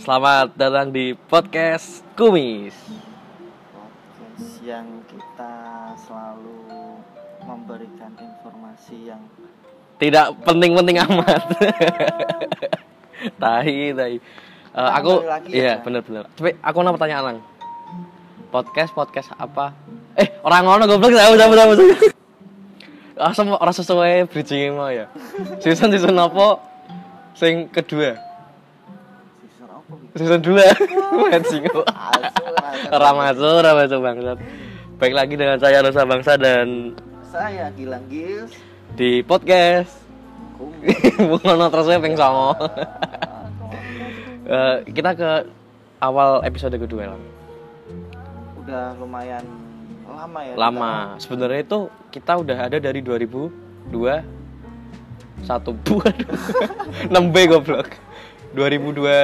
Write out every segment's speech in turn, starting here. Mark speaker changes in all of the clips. Speaker 1: Selamat datang di podcast Kumis.
Speaker 2: podcast yang kita selalu memberikan informasi yang
Speaker 1: Tidak penting-penting amat. tahi, tahi. Eh, aku
Speaker 2: Kembali lagi
Speaker 1: iya
Speaker 2: ya.
Speaker 1: bener-bener. Tapi aku mau tanya Alang. Podcast podcast apa? Eh, orang ngono goblok tahu tahu tahu. Asem ora sesuai bridging mau ya. Season season apa? Sing kedua.
Speaker 2: season apa gitu
Speaker 1: Season 2. Matching.
Speaker 2: Asu, rasa-
Speaker 1: Ora masuk, ora masuk bangsat. Baik lagi dengan saya Rosa Bangsa dan
Speaker 2: saya Gilang Gils
Speaker 1: di podcast
Speaker 2: kumis
Speaker 1: Bungono terus saya ping songo. Eh, kita ke awal episode kedua lah.
Speaker 2: udah lumayan lama ya
Speaker 1: Lama. Sebenarnya itu kita udah ada dari 2002 satu bulan 6B goblok. 2002
Speaker 2: kita.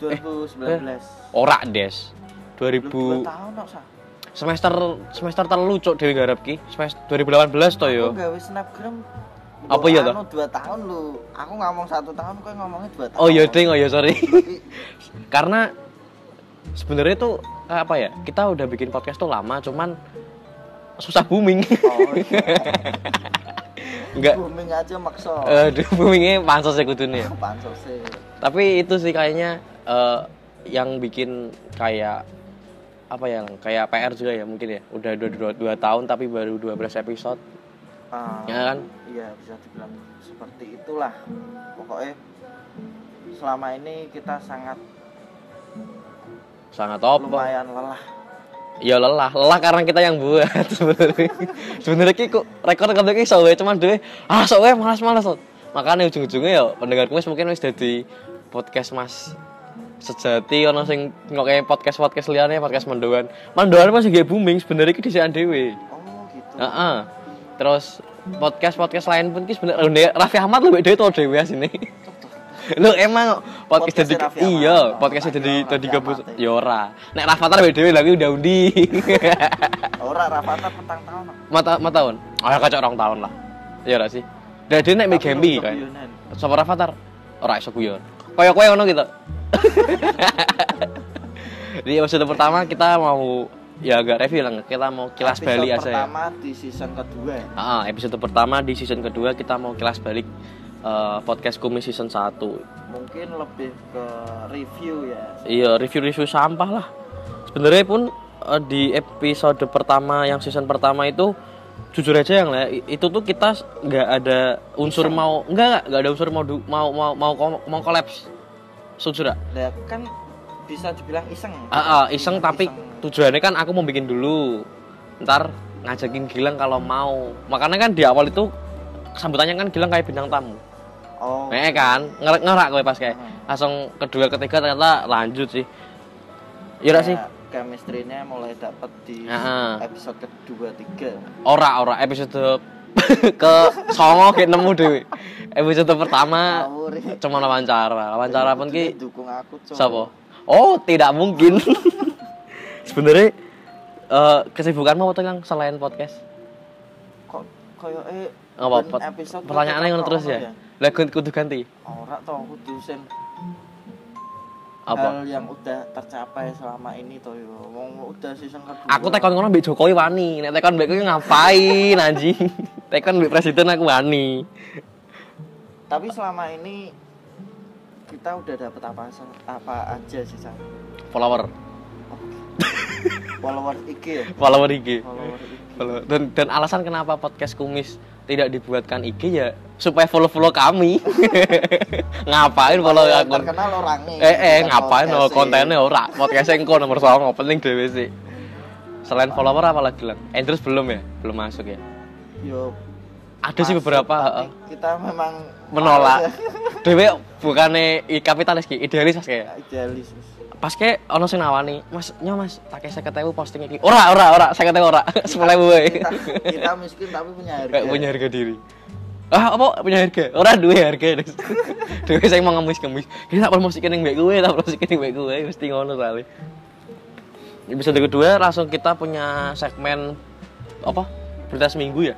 Speaker 2: 2019
Speaker 1: Eh, orak des.
Speaker 2: belum dua
Speaker 1: 2000
Speaker 2: tahun kok sah
Speaker 1: semester semester terlalu cok dewe ngarep ki. Semester 2018 to yo.
Speaker 2: aku gawe snapgram
Speaker 1: Oh, iya. Apa
Speaker 2: Loh,
Speaker 1: iya toh?
Speaker 2: anu dua tahun lu aku ngomong satu tahun kau ngomongnya dua tahun
Speaker 1: Oh iya ding, oh iya sorry.
Speaker 2: Tapi-
Speaker 1: Karena sebenarnya tuh eh, apa ya? Kita udah bikin podcast tuh lama, cuman susah booming.
Speaker 2: oh iya
Speaker 1: Enggak Eh.
Speaker 2: booming aja makso
Speaker 1: Aduh, boomingnya pansos ya kudune.
Speaker 2: pansos sih
Speaker 1: Tapi itu sih kayaknya eh, yang bikin kayak apa ya, Lang? kayak PR juga ya mungkin ya. Udah 2 tahun tapi baru 12 episode.
Speaker 2: Ah,
Speaker 1: Ya kan?
Speaker 2: Iya bisa dibilang seperti itulah pokoknya selama ini kita sangat
Speaker 1: Sangat top.
Speaker 2: lumayan lelah
Speaker 1: Ya lelah, lelah karena kita yang buat sebenarnya. sebenarnya ki kok rekor kabeh ki sowe cuman dhewe ah sowe malas-malas. Lot." Makanya ujung-ujungnya ya pendengar kumis mungkin wis jadi podcast Mas sejati ono sing ngokei podcast-podcast liane podcast mendoan. Mendoan masih gak booming sebenarnya ki dhewean dhewe.
Speaker 2: oh gitu
Speaker 1: Heeh. Terus podcast-podcast lain pun ki sebenarnya Loh, Nek, Raffi Ahmad lebih dhewe tau dhewe sini. Lu emang kok podcast
Speaker 2: Podcastnya
Speaker 1: jadi
Speaker 2: Raffi Ahmad.
Speaker 1: iya,
Speaker 2: Oh,
Speaker 1: podcast
Speaker 2: tak
Speaker 1: jadi
Speaker 2: kira
Speaker 1: tadi
Speaker 2: Raffi
Speaker 1: gabus
Speaker 2: Ahmad ya.
Speaker 1: ya ora. Nek Rafathar dhewe lagi udah undi.
Speaker 2: ora Rafata petang tahun
Speaker 1: mata mata tahun ah kacau orang tahun lah iya lah sih dan dia naik Megami kan
Speaker 2: iya.
Speaker 1: sama Rafathar ora iso guyon kaya kaya ono gitu di episode pertama kita mau ya agak review lah kita mau kilas balik aja ya
Speaker 2: pertama di season kedua
Speaker 1: Ah, episode pertama di season kedua kita mau kilas balik eh, podcast kumis season 1
Speaker 2: mungkin lebih ke review ya
Speaker 1: iya review-review sampah lah sebenarnya pun eh, di episode pertama yang season pertama itu jujur aja yang lah itu tuh kita s- nggak ada unsur mau nggak nggak nggak ada unsur mau du- mau mau mau ko- mau kolaps jujur ah
Speaker 2: Lah, kan bisa dibilang iseng
Speaker 1: Ah, ah, iseng tapi
Speaker 2: Iseng.
Speaker 1: tujuannya kan aku mau bikin dulu ntar ngajakin Gilang kalau mau makanya kan di awal itu sambutannya kan Gilang kayak bintang tamu
Speaker 2: oh
Speaker 1: Eh kan, ngerak ngerak gue pas kayak
Speaker 2: Hmm.
Speaker 1: langsung kedua ketiga ternyata lanjut sih. Iya nggak sih,
Speaker 2: kayak ya, chemistry-nya mulai dapat di
Speaker 1: Ah, ah.
Speaker 2: episode kedua tiga
Speaker 1: ora ora episode ke songo kayak nemu dewi. Episode pertama
Speaker 2: Ngawur. gitu.
Speaker 1: cuma wawancara, wawancara pun ki
Speaker 2: Kudune dukung aku Cok.
Speaker 1: Sopo? Oh, tidak mungkin. Sebenarnya eh, kesibukanmu apa tuh Kang, selain podcast?
Speaker 2: kok koyo eh
Speaker 1: Nggak apa-apa.
Speaker 2: ben episode
Speaker 1: Pertanyaannya
Speaker 2: kita
Speaker 1: ngono terus
Speaker 2: ono
Speaker 1: ya. Lah kudu kudu ganti.
Speaker 2: ora to aku dosen
Speaker 1: Apa?
Speaker 2: hal yang udah tercapai selama ini to yo wong udah season kedua
Speaker 1: Aku tekon ngono mbek Jokowi wani. Nek tekon mbek kowe ngapain anjing? Tekon mbek presiden aku wani.
Speaker 2: tapi selama ini kita udah dapet apa sa- apa aja sih Sam?
Speaker 1: Follower.
Speaker 2: follower IG ya
Speaker 1: follower IG.
Speaker 2: follower IG
Speaker 1: Follower. Dan dan alasan kenapa podcast kumis tidak dibuatkan IG ya supaya follow-follow kami. ngapain follow
Speaker 2: Yang
Speaker 1: akun?
Speaker 2: terkenal orangnya
Speaker 1: Eh eh
Speaker 2: bukan
Speaker 1: ngapain
Speaker 2: kan podcast
Speaker 1: lo
Speaker 2: sih.
Speaker 1: kontennya ora? Podcast engko nomor songo penting dhewe sih. Selain follower apa lagi lang? Endres belum ya? Belum masuk ya?
Speaker 2: yo
Speaker 1: Ada sih
Speaker 2: masuk,
Speaker 1: beberapa
Speaker 2: tapi
Speaker 1: heeh,
Speaker 2: kita memang
Speaker 1: menolak. Dewe bukannya i- kapitalis ki, idealis pas kayak.
Speaker 2: idealis
Speaker 1: Pas kayak ono sing nawani, Mas, nyo Mas, tak kayak 50.000 posting iki. Ora ora ora, 50.000 ora. 10.000 wae.
Speaker 2: kita, kita miskin tapi punya harga
Speaker 1: eh. Kayak punya harga diri. Ah, apa punya harga? Ora duwe harga. Des. Dewe sing mau ngemis-ngemis. Kita tak promosikin yang baik gue, tak promosikin yang baik gue, mesti ngono kali. Episode kedua langsung kita punya segmen apa? Berita seminggu ya?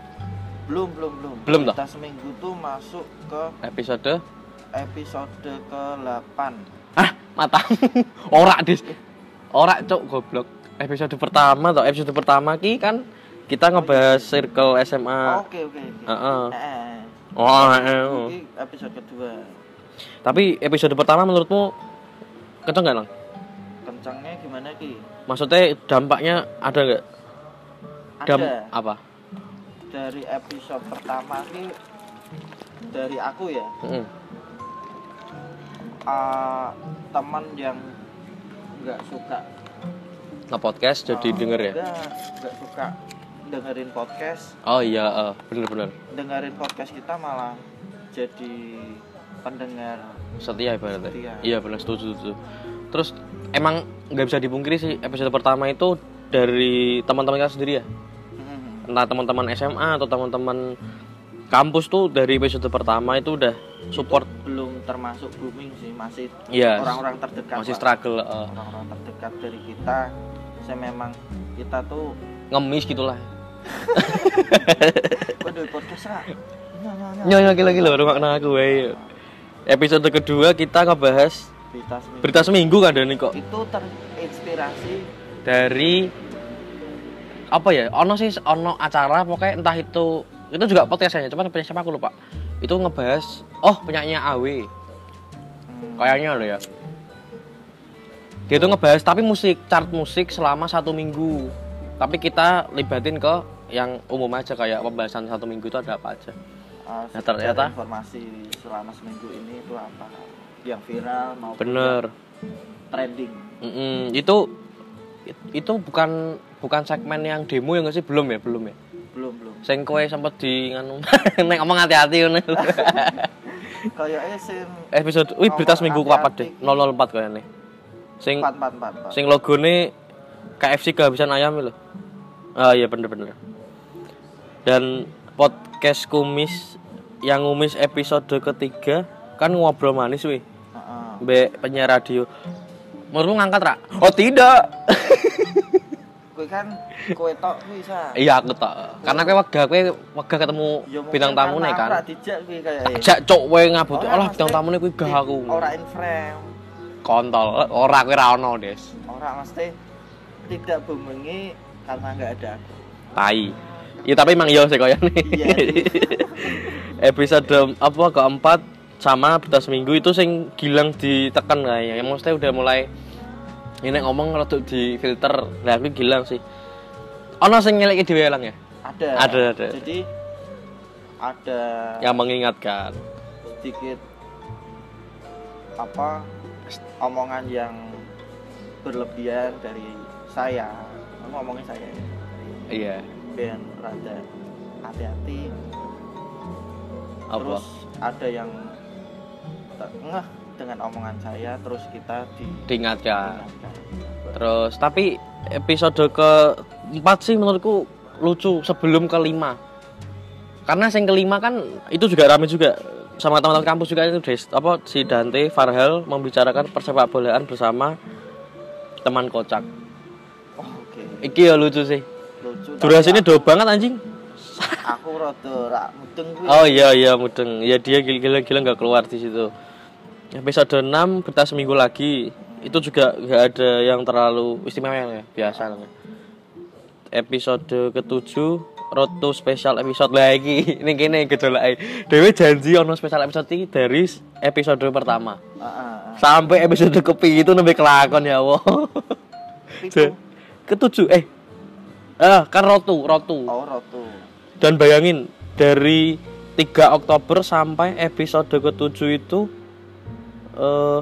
Speaker 2: belum belum belum
Speaker 1: Belum, toh?
Speaker 2: kita seminggu tuh masuk ke
Speaker 1: Episode
Speaker 2: episode ke 8
Speaker 1: Ah, matamu ora dis ora cok goblok episode pertama toh episode pertama ki kan kita ngebahas circle SMA
Speaker 2: Oke oke. oke.
Speaker 1: Heeh.
Speaker 2: Eh, eh.
Speaker 1: oh, eh, Ah. oh.
Speaker 2: Ini episode kedua.
Speaker 1: tapi episode pertama menurutmu kenceng nggak lang
Speaker 2: Kencangnya gimana ki?
Speaker 1: maksudnya dampaknya ada nggak
Speaker 2: Ada.
Speaker 1: dam apa
Speaker 2: Dari episode pertama ki dari aku ya.
Speaker 1: Mm-mm.
Speaker 2: eh, teman yang nggak suka
Speaker 1: nge-podcast jadi
Speaker 2: eh,
Speaker 1: denger ya
Speaker 2: nggak- nggak suka dengerin podcast
Speaker 1: oh iya eh, bener-bener
Speaker 2: dengerin podcast kita malah jadi pendengar
Speaker 1: setia ibaratnya
Speaker 2: Setia.
Speaker 1: iya benar setuju, setuju terus emang nggak bisa dipungkiri sih episode pertama itu dari teman-teman kita sendiri ya
Speaker 2: Mhm.
Speaker 1: entah teman-teman SMA atau teman-teman kampus tuh dari episode pertama itu udah support
Speaker 2: belum termasuk booming sih masih
Speaker 1: Iya.
Speaker 2: orang-orang terdekat
Speaker 1: masih
Speaker 2: lah.
Speaker 1: struggle eh,
Speaker 2: orang-orang terdekat dari kita saya memang kita tuh
Speaker 1: ngemis gitulah
Speaker 2: waduh podcast lah Nyo, nyo, nyo.
Speaker 1: nyonya lagi lagi loh baru makna aku wey. episode kedua kita ngebahas
Speaker 2: Berita seminggu.
Speaker 1: berita seminggu kan Dani kok
Speaker 2: itu terinspirasi
Speaker 1: dari apa ya ono sih ono acara pokoknya entah itu itu juga podcastnya cuman punya siapa aku lupa itu ngebahas oh penyanyi AW
Speaker 2: hmm,
Speaker 1: kayaknya loh ya dia tuh ngebahas tapi musik chart musik selama satu minggu tapi kita libatin ke yang umum aja kayak pembahasan satu minggu itu ada apa aja
Speaker 2: eh,
Speaker 1: Nah, ternyata-
Speaker 2: informasi selama seminggu ini itu apa yang viral maupun
Speaker 1: bener
Speaker 2: yang trending
Speaker 1: Mm-mm. itu itu bukan bukan segmen yang demo yang sih belum ya belum ya
Speaker 2: belum belum
Speaker 1: sing kowe sempet di nganu nek ngomong hati-hati ngono
Speaker 2: kayaknya sin
Speaker 1: episode wih berita seminggu
Speaker 2: Ngomong
Speaker 1: keempat deh 004 kayaknya sing
Speaker 2: empat empat empat empat.
Speaker 1: sing logone KFC kehabisan ayam loh ah iya bener-bener dan podcast kumis yang kumis episode ketiga kan ngobrol manis weh
Speaker 2: Heeh.
Speaker 1: be penyiar radio menurutmu ngangkat rak oh tidak
Speaker 2: Kue kan kue tok bisa
Speaker 1: iya aku tak karena kue wega kue wega ketemu bintang tamu nih kan
Speaker 2: dijak kue kayak
Speaker 1: jak cok kue ngabut
Speaker 2: Ora,
Speaker 1: alah bintang
Speaker 2: mesti-
Speaker 1: tamu nih kue gak aku
Speaker 2: ora in frame
Speaker 1: kontol ora kue ra ono des
Speaker 2: ora mesti tidak bumengi karena nggak ada aku
Speaker 1: tai ya tapi emang iya sih kaya nih
Speaker 2: Iya.
Speaker 1: episode apa keempat sama berita seminggu itu sing gilang ditekan kayaknya ya maksudnya udah mulai ini ngomong rada di filter nah aku gilang sih ono sing ngeleki dhewe Elang ya
Speaker 2: ada
Speaker 1: Ada, ada. Ya.
Speaker 2: jadi ada
Speaker 1: yang mengingatkan
Speaker 2: sedikit apa omongan yang berlebihan dari saya Aku ngomongin saya ya.
Speaker 1: iya
Speaker 2: ben rada hati-hati
Speaker 1: apa
Speaker 2: terus ada yang tengah dengan omongan saya terus kita di
Speaker 1: diingatkan terus tapi episode keempat sih menurutku lucu sebelum kelima karena yang kelima kan itu juga rame juga sama teman-teman kampus juga itu Des. apa si Dante Farhel membicarakan persepak bolaan bersama teman kocak
Speaker 2: oh, oke
Speaker 1: iki ya lucu sih
Speaker 2: lucu
Speaker 1: durasinya
Speaker 2: tapi
Speaker 1: do banget anjing
Speaker 2: aku rada rak mudeng kuwi
Speaker 1: oh iya iya mudeng ya dia gila-gila nggak keluar di situ episode 6 berita seminggu lagi itu juga nggak ada yang terlalu istimewa ya biasa lah. episode ketujuh road to special episode lagi ini kene gejolak Dewi janji ono special episode ini dari episode pertama
Speaker 2: Ah, ah, ah.
Speaker 1: sampai episode kepi itu lebih kelakon ya Allah
Speaker 2: Pitu.
Speaker 1: ketujuh eh ah kan rotu rotu
Speaker 2: oh roto
Speaker 1: dan bayangin dari 3 Oktober sampai episode ke-7 itu eh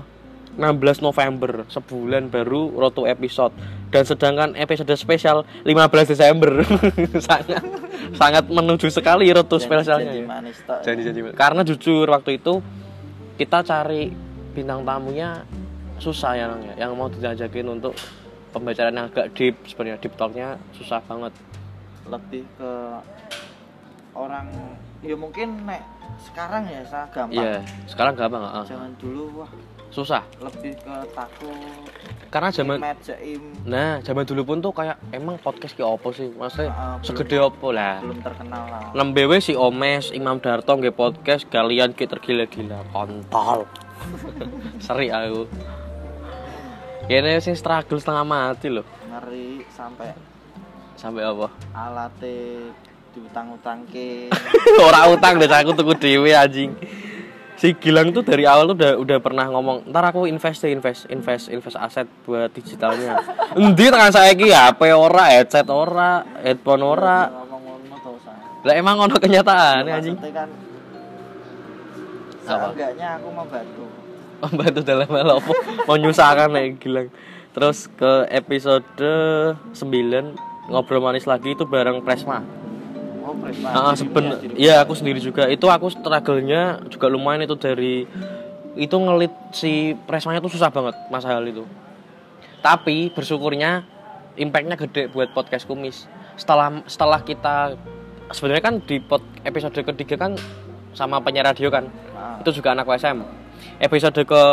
Speaker 1: 16 November sebulan baru roto episode dan sedangkan episode spesial 15 Desember sangat sangat menuju sekali roto spesialnya
Speaker 2: jadi
Speaker 1: ya.
Speaker 2: manis tok
Speaker 1: jadi jadi karena jujur waktu itu kita cari bintang tamunya susah ya Nang, ya. yang mau diajakin untuk pembicaraan yang agak deep sebenarnya deep talknya susah banget
Speaker 2: lebih ke orang ya mungkin nek sekarang ya saya gampang
Speaker 1: iya sekarang gampang ah.
Speaker 2: jangan dulu wah
Speaker 1: susah
Speaker 2: lebih ke takut
Speaker 1: karena zaman
Speaker 2: mejaim
Speaker 1: nah zaman dulu pun tuh kayak emang podcast ki opo sih maksudnya
Speaker 2: Ah, belum-
Speaker 1: segede opo lah
Speaker 2: belum terkenal lah
Speaker 1: 6BW si Omes, Imam Darto nggih podcast kalian ki tergila-gila kontol. Seri aku. Kene sing struggle setengah mati loh.
Speaker 2: ngeri sampai
Speaker 1: Sampai apa?
Speaker 2: alate diutang-utang ke
Speaker 1: Ora utang deh aku tuku dhewe anjing. Si Gilang tuh dari awal tuh udah udah pernah ngomong, ntar aku invest deh, invest invest invest aset buat digitalnya. Endi tangan saya ki HP ora, headset ora, headphone ora.
Speaker 2: ngomong ngono tau saya
Speaker 1: Lah emang ono kenyataan Ah. anjing.
Speaker 2: maksudnya kan
Speaker 1: Apa?
Speaker 2: seenggaknya aku membantu
Speaker 1: membantu dalam hal apa menyusahkan nek Gilang terus ke episode 9 ngobrol manis lagi itu bareng Presma
Speaker 2: oh Prisma
Speaker 1: Ah,
Speaker 2: dirimu
Speaker 1: seben
Speaker 2: sendiri.
Speaker 1: ya aku sendiri juga itu aku struggle-nya juga lumayan itu dari itu ngelit si Presmanya tuh susah banget masalah itu tapi bersyukurnya impactnya gede buat podcast kumis setelah setelah kita sebenarnya kan di pod, episode ketiga kan sama penyiar radio kan
Speaker 2: Ah.
Speaker 1: itu juga anak WSM episode ke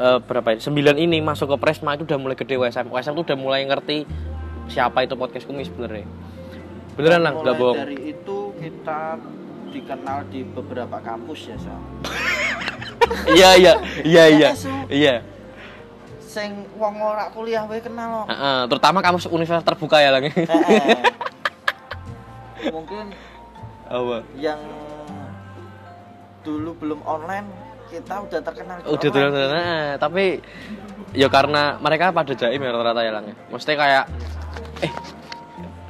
Speaker 1: eh, berapa ya 9 ini masuk ke Presma itu udah mulai gede WSM WSM tuh udah mulai ngerti siapa itu podcast kumis sebenarnya beneran lah nggak
Speaker 2: Mulai
Speaker 1: bohong
Speaker 2: dari itu kita dikenal di beberapa kampus ya Sal
Speaker 1: iya iya iya iya
Speaker 2: Su.
Speaker 1: iya
Speaker 2: sing wong ora kuliah wae kenal kok
Speaker 1: Heeh, terutama kamu universitas terbuka ya lang
Speaker 2: Eh, eh. mungkin
Speaker 1: apa
Speaker 2: yang dulu belum online kita udah terkenal di
Speaker 1: Oh, udah
Speaker 2: online.
Speaker 1: tuh nah, tapi ya karena mereka pada jaim ya rata-rata ya lang ya. maksudnya kayak eh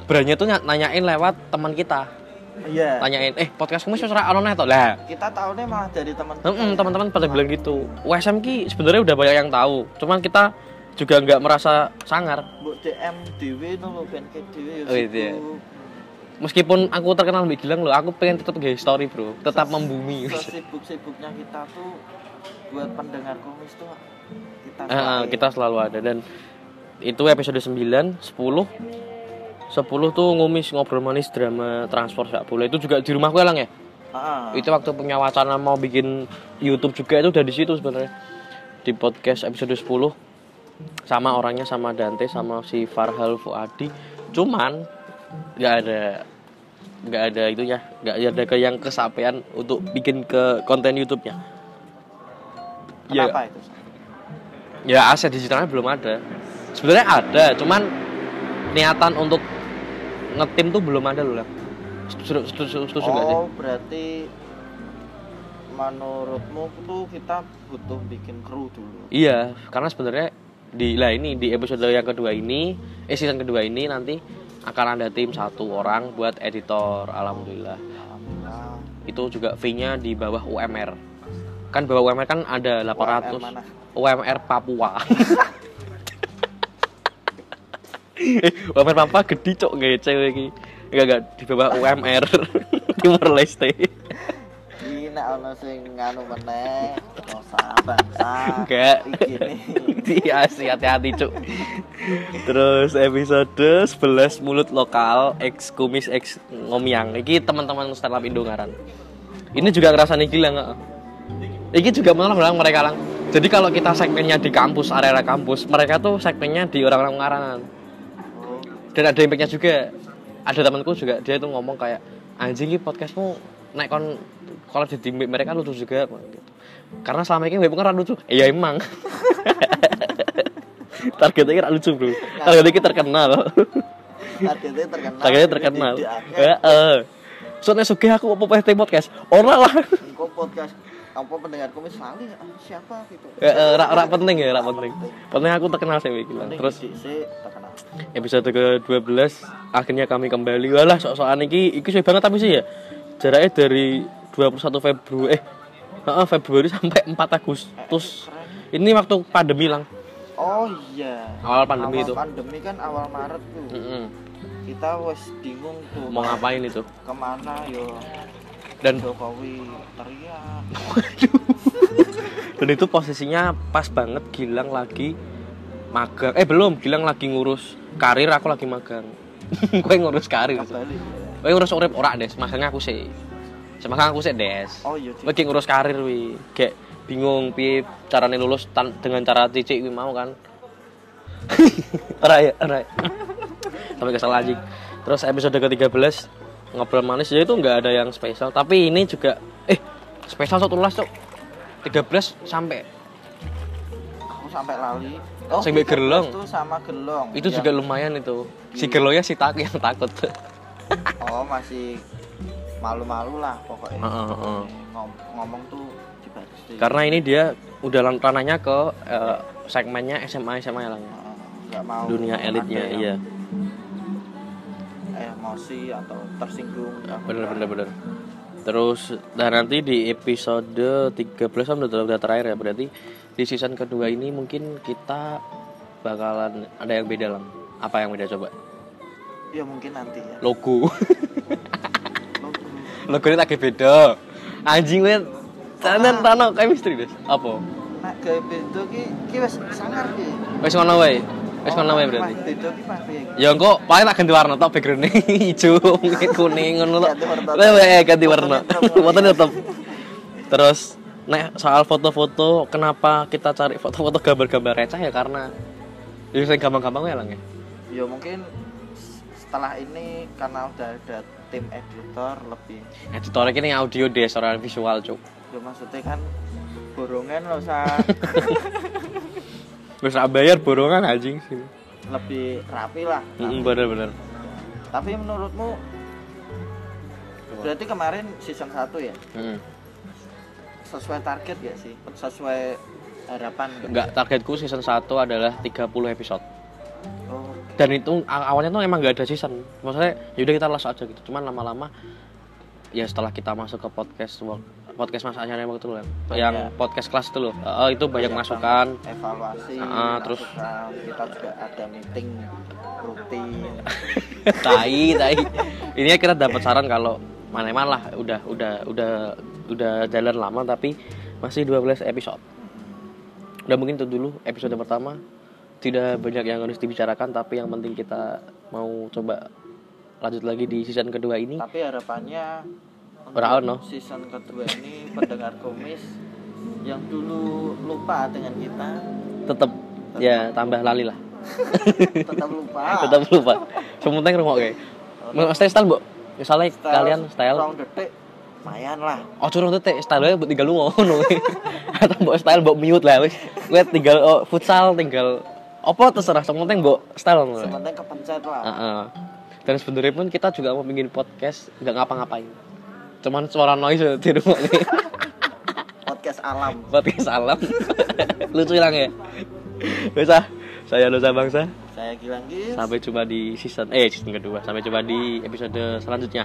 Speaker 1: berani tuh ny- nanyain lewat teman kita
Speaker 2: iya
Speaker 1: tanyain eh podcast kamu sesuai ono neh toh lah
Speaker 2: kita tahunya malah dari teman ya.
Speaker 1: Mm-mm, teman-teman pada bilang gitu USM ki sebenarnya udah banyak yang tahu cuman kita juga nggak merasa sangar
Speaker 2: Mbok DM dhewe no lho ben ke dhewe ya
Speaker 1: Oh, itu ya.
Speaker 2: sibuk.
Speaker 1: meskipun aku terkenal lebih gilang loh aku pengen tetap gay story bro tetap membumi
Speaker 2: sesibuk-sibuknya kita tuh buat pendengar komis tuh kita
Speaker 1: Eh, eh,
Speaker 2: selain.
Speaker 1: kita selalu ada dan itu episode 9, 10 10 tuh ngumis ngobrol manis drama transfer sepak bola itu juga di rumahku elang ya
Speaker 2: Ah,
Speaker 1: itu waktu punya wacana mau bikin YouTube juga itu udah di situ sebenarnya di podcast episode 10 sama orangnya sama Dante sama si Farhal Fuadi cuman nggak ada nggak ada itunya nggak ada ke yang kesapean untuk bikin ke konten YouTube-nya ya
Speaker 2: kenapa itu
Speaker 1: ya aset digitalnya belum ada sebenarnya ada cuman niatan untuk ngetim tuh belum ada loh Lang. setuju setuju setuju nggak sih
Speaker 2: oh berarti menurutmu tuh kita butuh bikin kru dulu
Speaker 1: Iya, karena sebenarnya di lah ini di episode yang kedua ini, eh season kedua ini nanti akan ada tim satu orang buat editor, alhamdulillah.
Speaker 2: Alhamdulillah.
Speaker 1: Itu juga fee-nya di bawah UMR. Kan bawah UMR kan ada 800
Speaker 2: mana?
Speaker 1: UMR Papua. Eh, UMR Papua gede cok ya, gece iki. Enggak enggak di bawah UMR Timor Leste.
Speaker 2: Ini nek ono sing nganu meneh, dosa bangsa.
Speaker 1: Enggak.
Speaker 2: Iki nih.
Speaker 1: Iya sih hati-hati cuk. Terus episode 11 mulut lokal ex kumis ex ngomyang. Iki teman-teman startup Indo ngaran. Ini juga ngerasa nih gila nggak? Iki juga menolong orang mereka lang. Jadi kalau kita segmennya di kampus, area kampus, mereka tuh segmennya di orang-orang ngaranan.
Speaker 2: Oh,
Speaker 1: Dan ada impactnya juga. Ada temanku juga dia tuh ngomong kayak anjing ini podcastmu naik kon kalau jadi mbek mereka lucu juga gitu. Karena selama ini mbekmu kan ra lucu. Iya emang. Targetnya kan ra lucu, Bro. Targetnya kita terkenal.
Speaker 2: Targetnya terkenal.
Speaker 1: Targetnya terkenal.
Speaker 2: Dididik-didik.
Speaker 1: Heeh. Soalnya sugih aku apa PT podcast. Ora lah.
Speaker 2: Engko podcast apa pendengar komis lali ah, siapa gitu.
Speaker 1: Heeh, ra ra penting ya, ra penting. Penting aku terkenal sih Wiki, lah. Terus
Speaker 2: Terus sih terkenal.
Speaker 1: episode ke-12 akhirnya kami kembali walah sok-sokan iki iki suwe banget tapi sih ya jaraknya dari 21 Februari eh heeh, Februari sampai 4 Agustus ini waktu pandemi lang
Speaker 2: Oh iya.
Speaker 1: Awal pandemi
Speaker 2: Awal
Speaker 1: itu.
Speaker 2: Pandemi kan awal Maret tuh.
Speaker 1: Mm-mm.
Speaker 2: Kita wes bingung tuh.
Speaker 1: mau ngapain itu
Speaker 2: Kemana yo?
Speaker 1: dan
Speaker 2: Jokowi teriak.
Speaker 1: dan itu posisinya pas banget Gilang lagi magang eh belum Gilang lagi ngurus karir aku lagi magang gue ngurus karir
Speaker 2: Kembali.
Speaker 1: gue ngurus urip ora des makanya aku sih semakanya aku sih des
Speaker 2: Oh iya. Ci.
Speaker 1: lagi ngurus karir wi kayak bingung piye carane lulus tan- dengan cara cicik wi mau kan ora ya ora ya. tapi kesel anjing terus episode ke-13 ngobrol manis ya itu nggak ada yang spesial tapi ini juga eh spesial satu las tuh 13 sampai
Speaker 2: Aku sampai lali. Oh,
Speaker 1: Sing mbek gerlong.
Speaker 2: Itu sama gelong.
Speaker 1: Itu
Speaker 2: Ya.
Speaker 1: juga lumayan itu. Si gerlonya si tak yang takut.
Speaker 2: Oh, masih malu-malu lah pokoknya.
Speaker 1: Heeh, heeh.
Speaker 2: Ngom- ngomong tuh dibatasi.
Speaker 1: Karena ini dia udah lan- ranahnya ke eh, segmennya SMA SMA lah.
Speaker 2: Heeh, nggak mau
Speaker 1: Dunia elitnya
Speaker 2: ada
Speaker 1: iya.
Speaker 2: yang emosi atau tersinggung
Speaker 1: Iya, Bener bener bener. Terus dan nanti di episode 13 kan udah, udah terakhir ya berarti di season kedua ini mungkin kita bakalan ada yang beda lah. Apa yang beda coba?
Speaker 2: ya mungkin nanti ya
Speaker 1: Logo.
Speaker 2: Lo
Speaker 1: Logonya lagi beda. Anjing gue Tanan tano chemistry des. Apa?
Speaker 2: nak ke pintu ki ki wis sangar ki
Speaker 1: Wis ngono wae. Wis ngono wae berarti.
Speaker 2: Mas pintu ki pasti
Speaker 1: Ya engko paling tak ganti warna tok background ijo, mungkin kuning ngono tok.
Speaker 2: Ganti warna.
Speaker 1: Weh, weh, ganti warna.
Speaker 2: Fotonya tetep.
Speaker 1: Fotonya tetep. Terus nek soal foto-foto kenapa kita cari foto-foto gambar-gambar receh ya karena ya sing gampang-gampang ya lang ya.
Speaker 2: ya mungkin s- setelah ini karena udah ada tim editor lebih
Speaker 1: Editor Nah, ini audio deh, soal visual cuk.
Speaker 2: ya maksudnya kan borongan lo usah
Speaker 1: Wis ra bayar borongan anjing sini.
Speaker 2: lebih rapi lah Nah,
Speaker 1: Heeh, bener-bener.
Speaker 2: tapi menurutmu berarti kemarin season 1 ya
Speaker 1: Heeh.
Speaker 2: sesuai target gak sih sesuai harapan nggak?
Speaker 1: Enggak targetku season 1 adalah 30 episode.
Speaker 2: oh,
Speaker 1: dan itu aw- awalnya tuh emang nggak ada season maksudnya yaudah kita las aja gitu cuman lama-lama ya setelah kita masuk ke podcast work- podcast mas Anjar yang waktu itu loh yang, yang
Speaker 2: Iya.
Speaker 1: podcast kelas itu loh Eh, itu banyak
Speaker 2: Iya,
Speaker 1: masukan
Speaker 2: sama evaluasi
Speaker 1: Ah, terus-
Speaker 2: masukan. kita juga ada meeting rutin
Speaker 1: tai tai ini kita dapat saran kalau mana-mana lah udah udah udah udah jalan lama tapi masih 12 episode udah mungkin itu dulu episode pertama tidak banyak yang harus dibicarakan tapi yang penting kita mau coba lanjut lagi di season kedua ini
Speaker 2: tapi harapannya untuk
Speaker 1: Ora ono.
Speaker 2: season kedua ini pendengar komis yang dulu lupa dengan kita
Speaker 1: tetap ya tambah lali lah
Speaker 2: tetap lupa
Speaker 1: tetap lupa sementing rumah kayak style style mbok misalnya
Speaker 2: Style
Speaker 1: kalian style
Speaker 2: rong detik mayan lah
Speaker 1: oh curang tete style mbok tinggal lungo ngono atau mbok style mbok mute lah wis gue tinggal oh, futsal tinggal apa terserah sementing mbok style ngono
Speaker 2: sementara kepencet lah
Speaker 1: Heeh. dan sebenarnya pun kita juga mau bikin podcast nggak ngapa-ngapain cuman suara noise ya, di rumah nih
Speaker 2: podcast alam
Speaker 1: podcast alam lucu hilang ya bisa saya Lusa Bangsa
Speaker 2: saya Gilang Gis
Speaker 1: sampai jumpa di season eh season kedua sampai jumpa di episode selanjutnya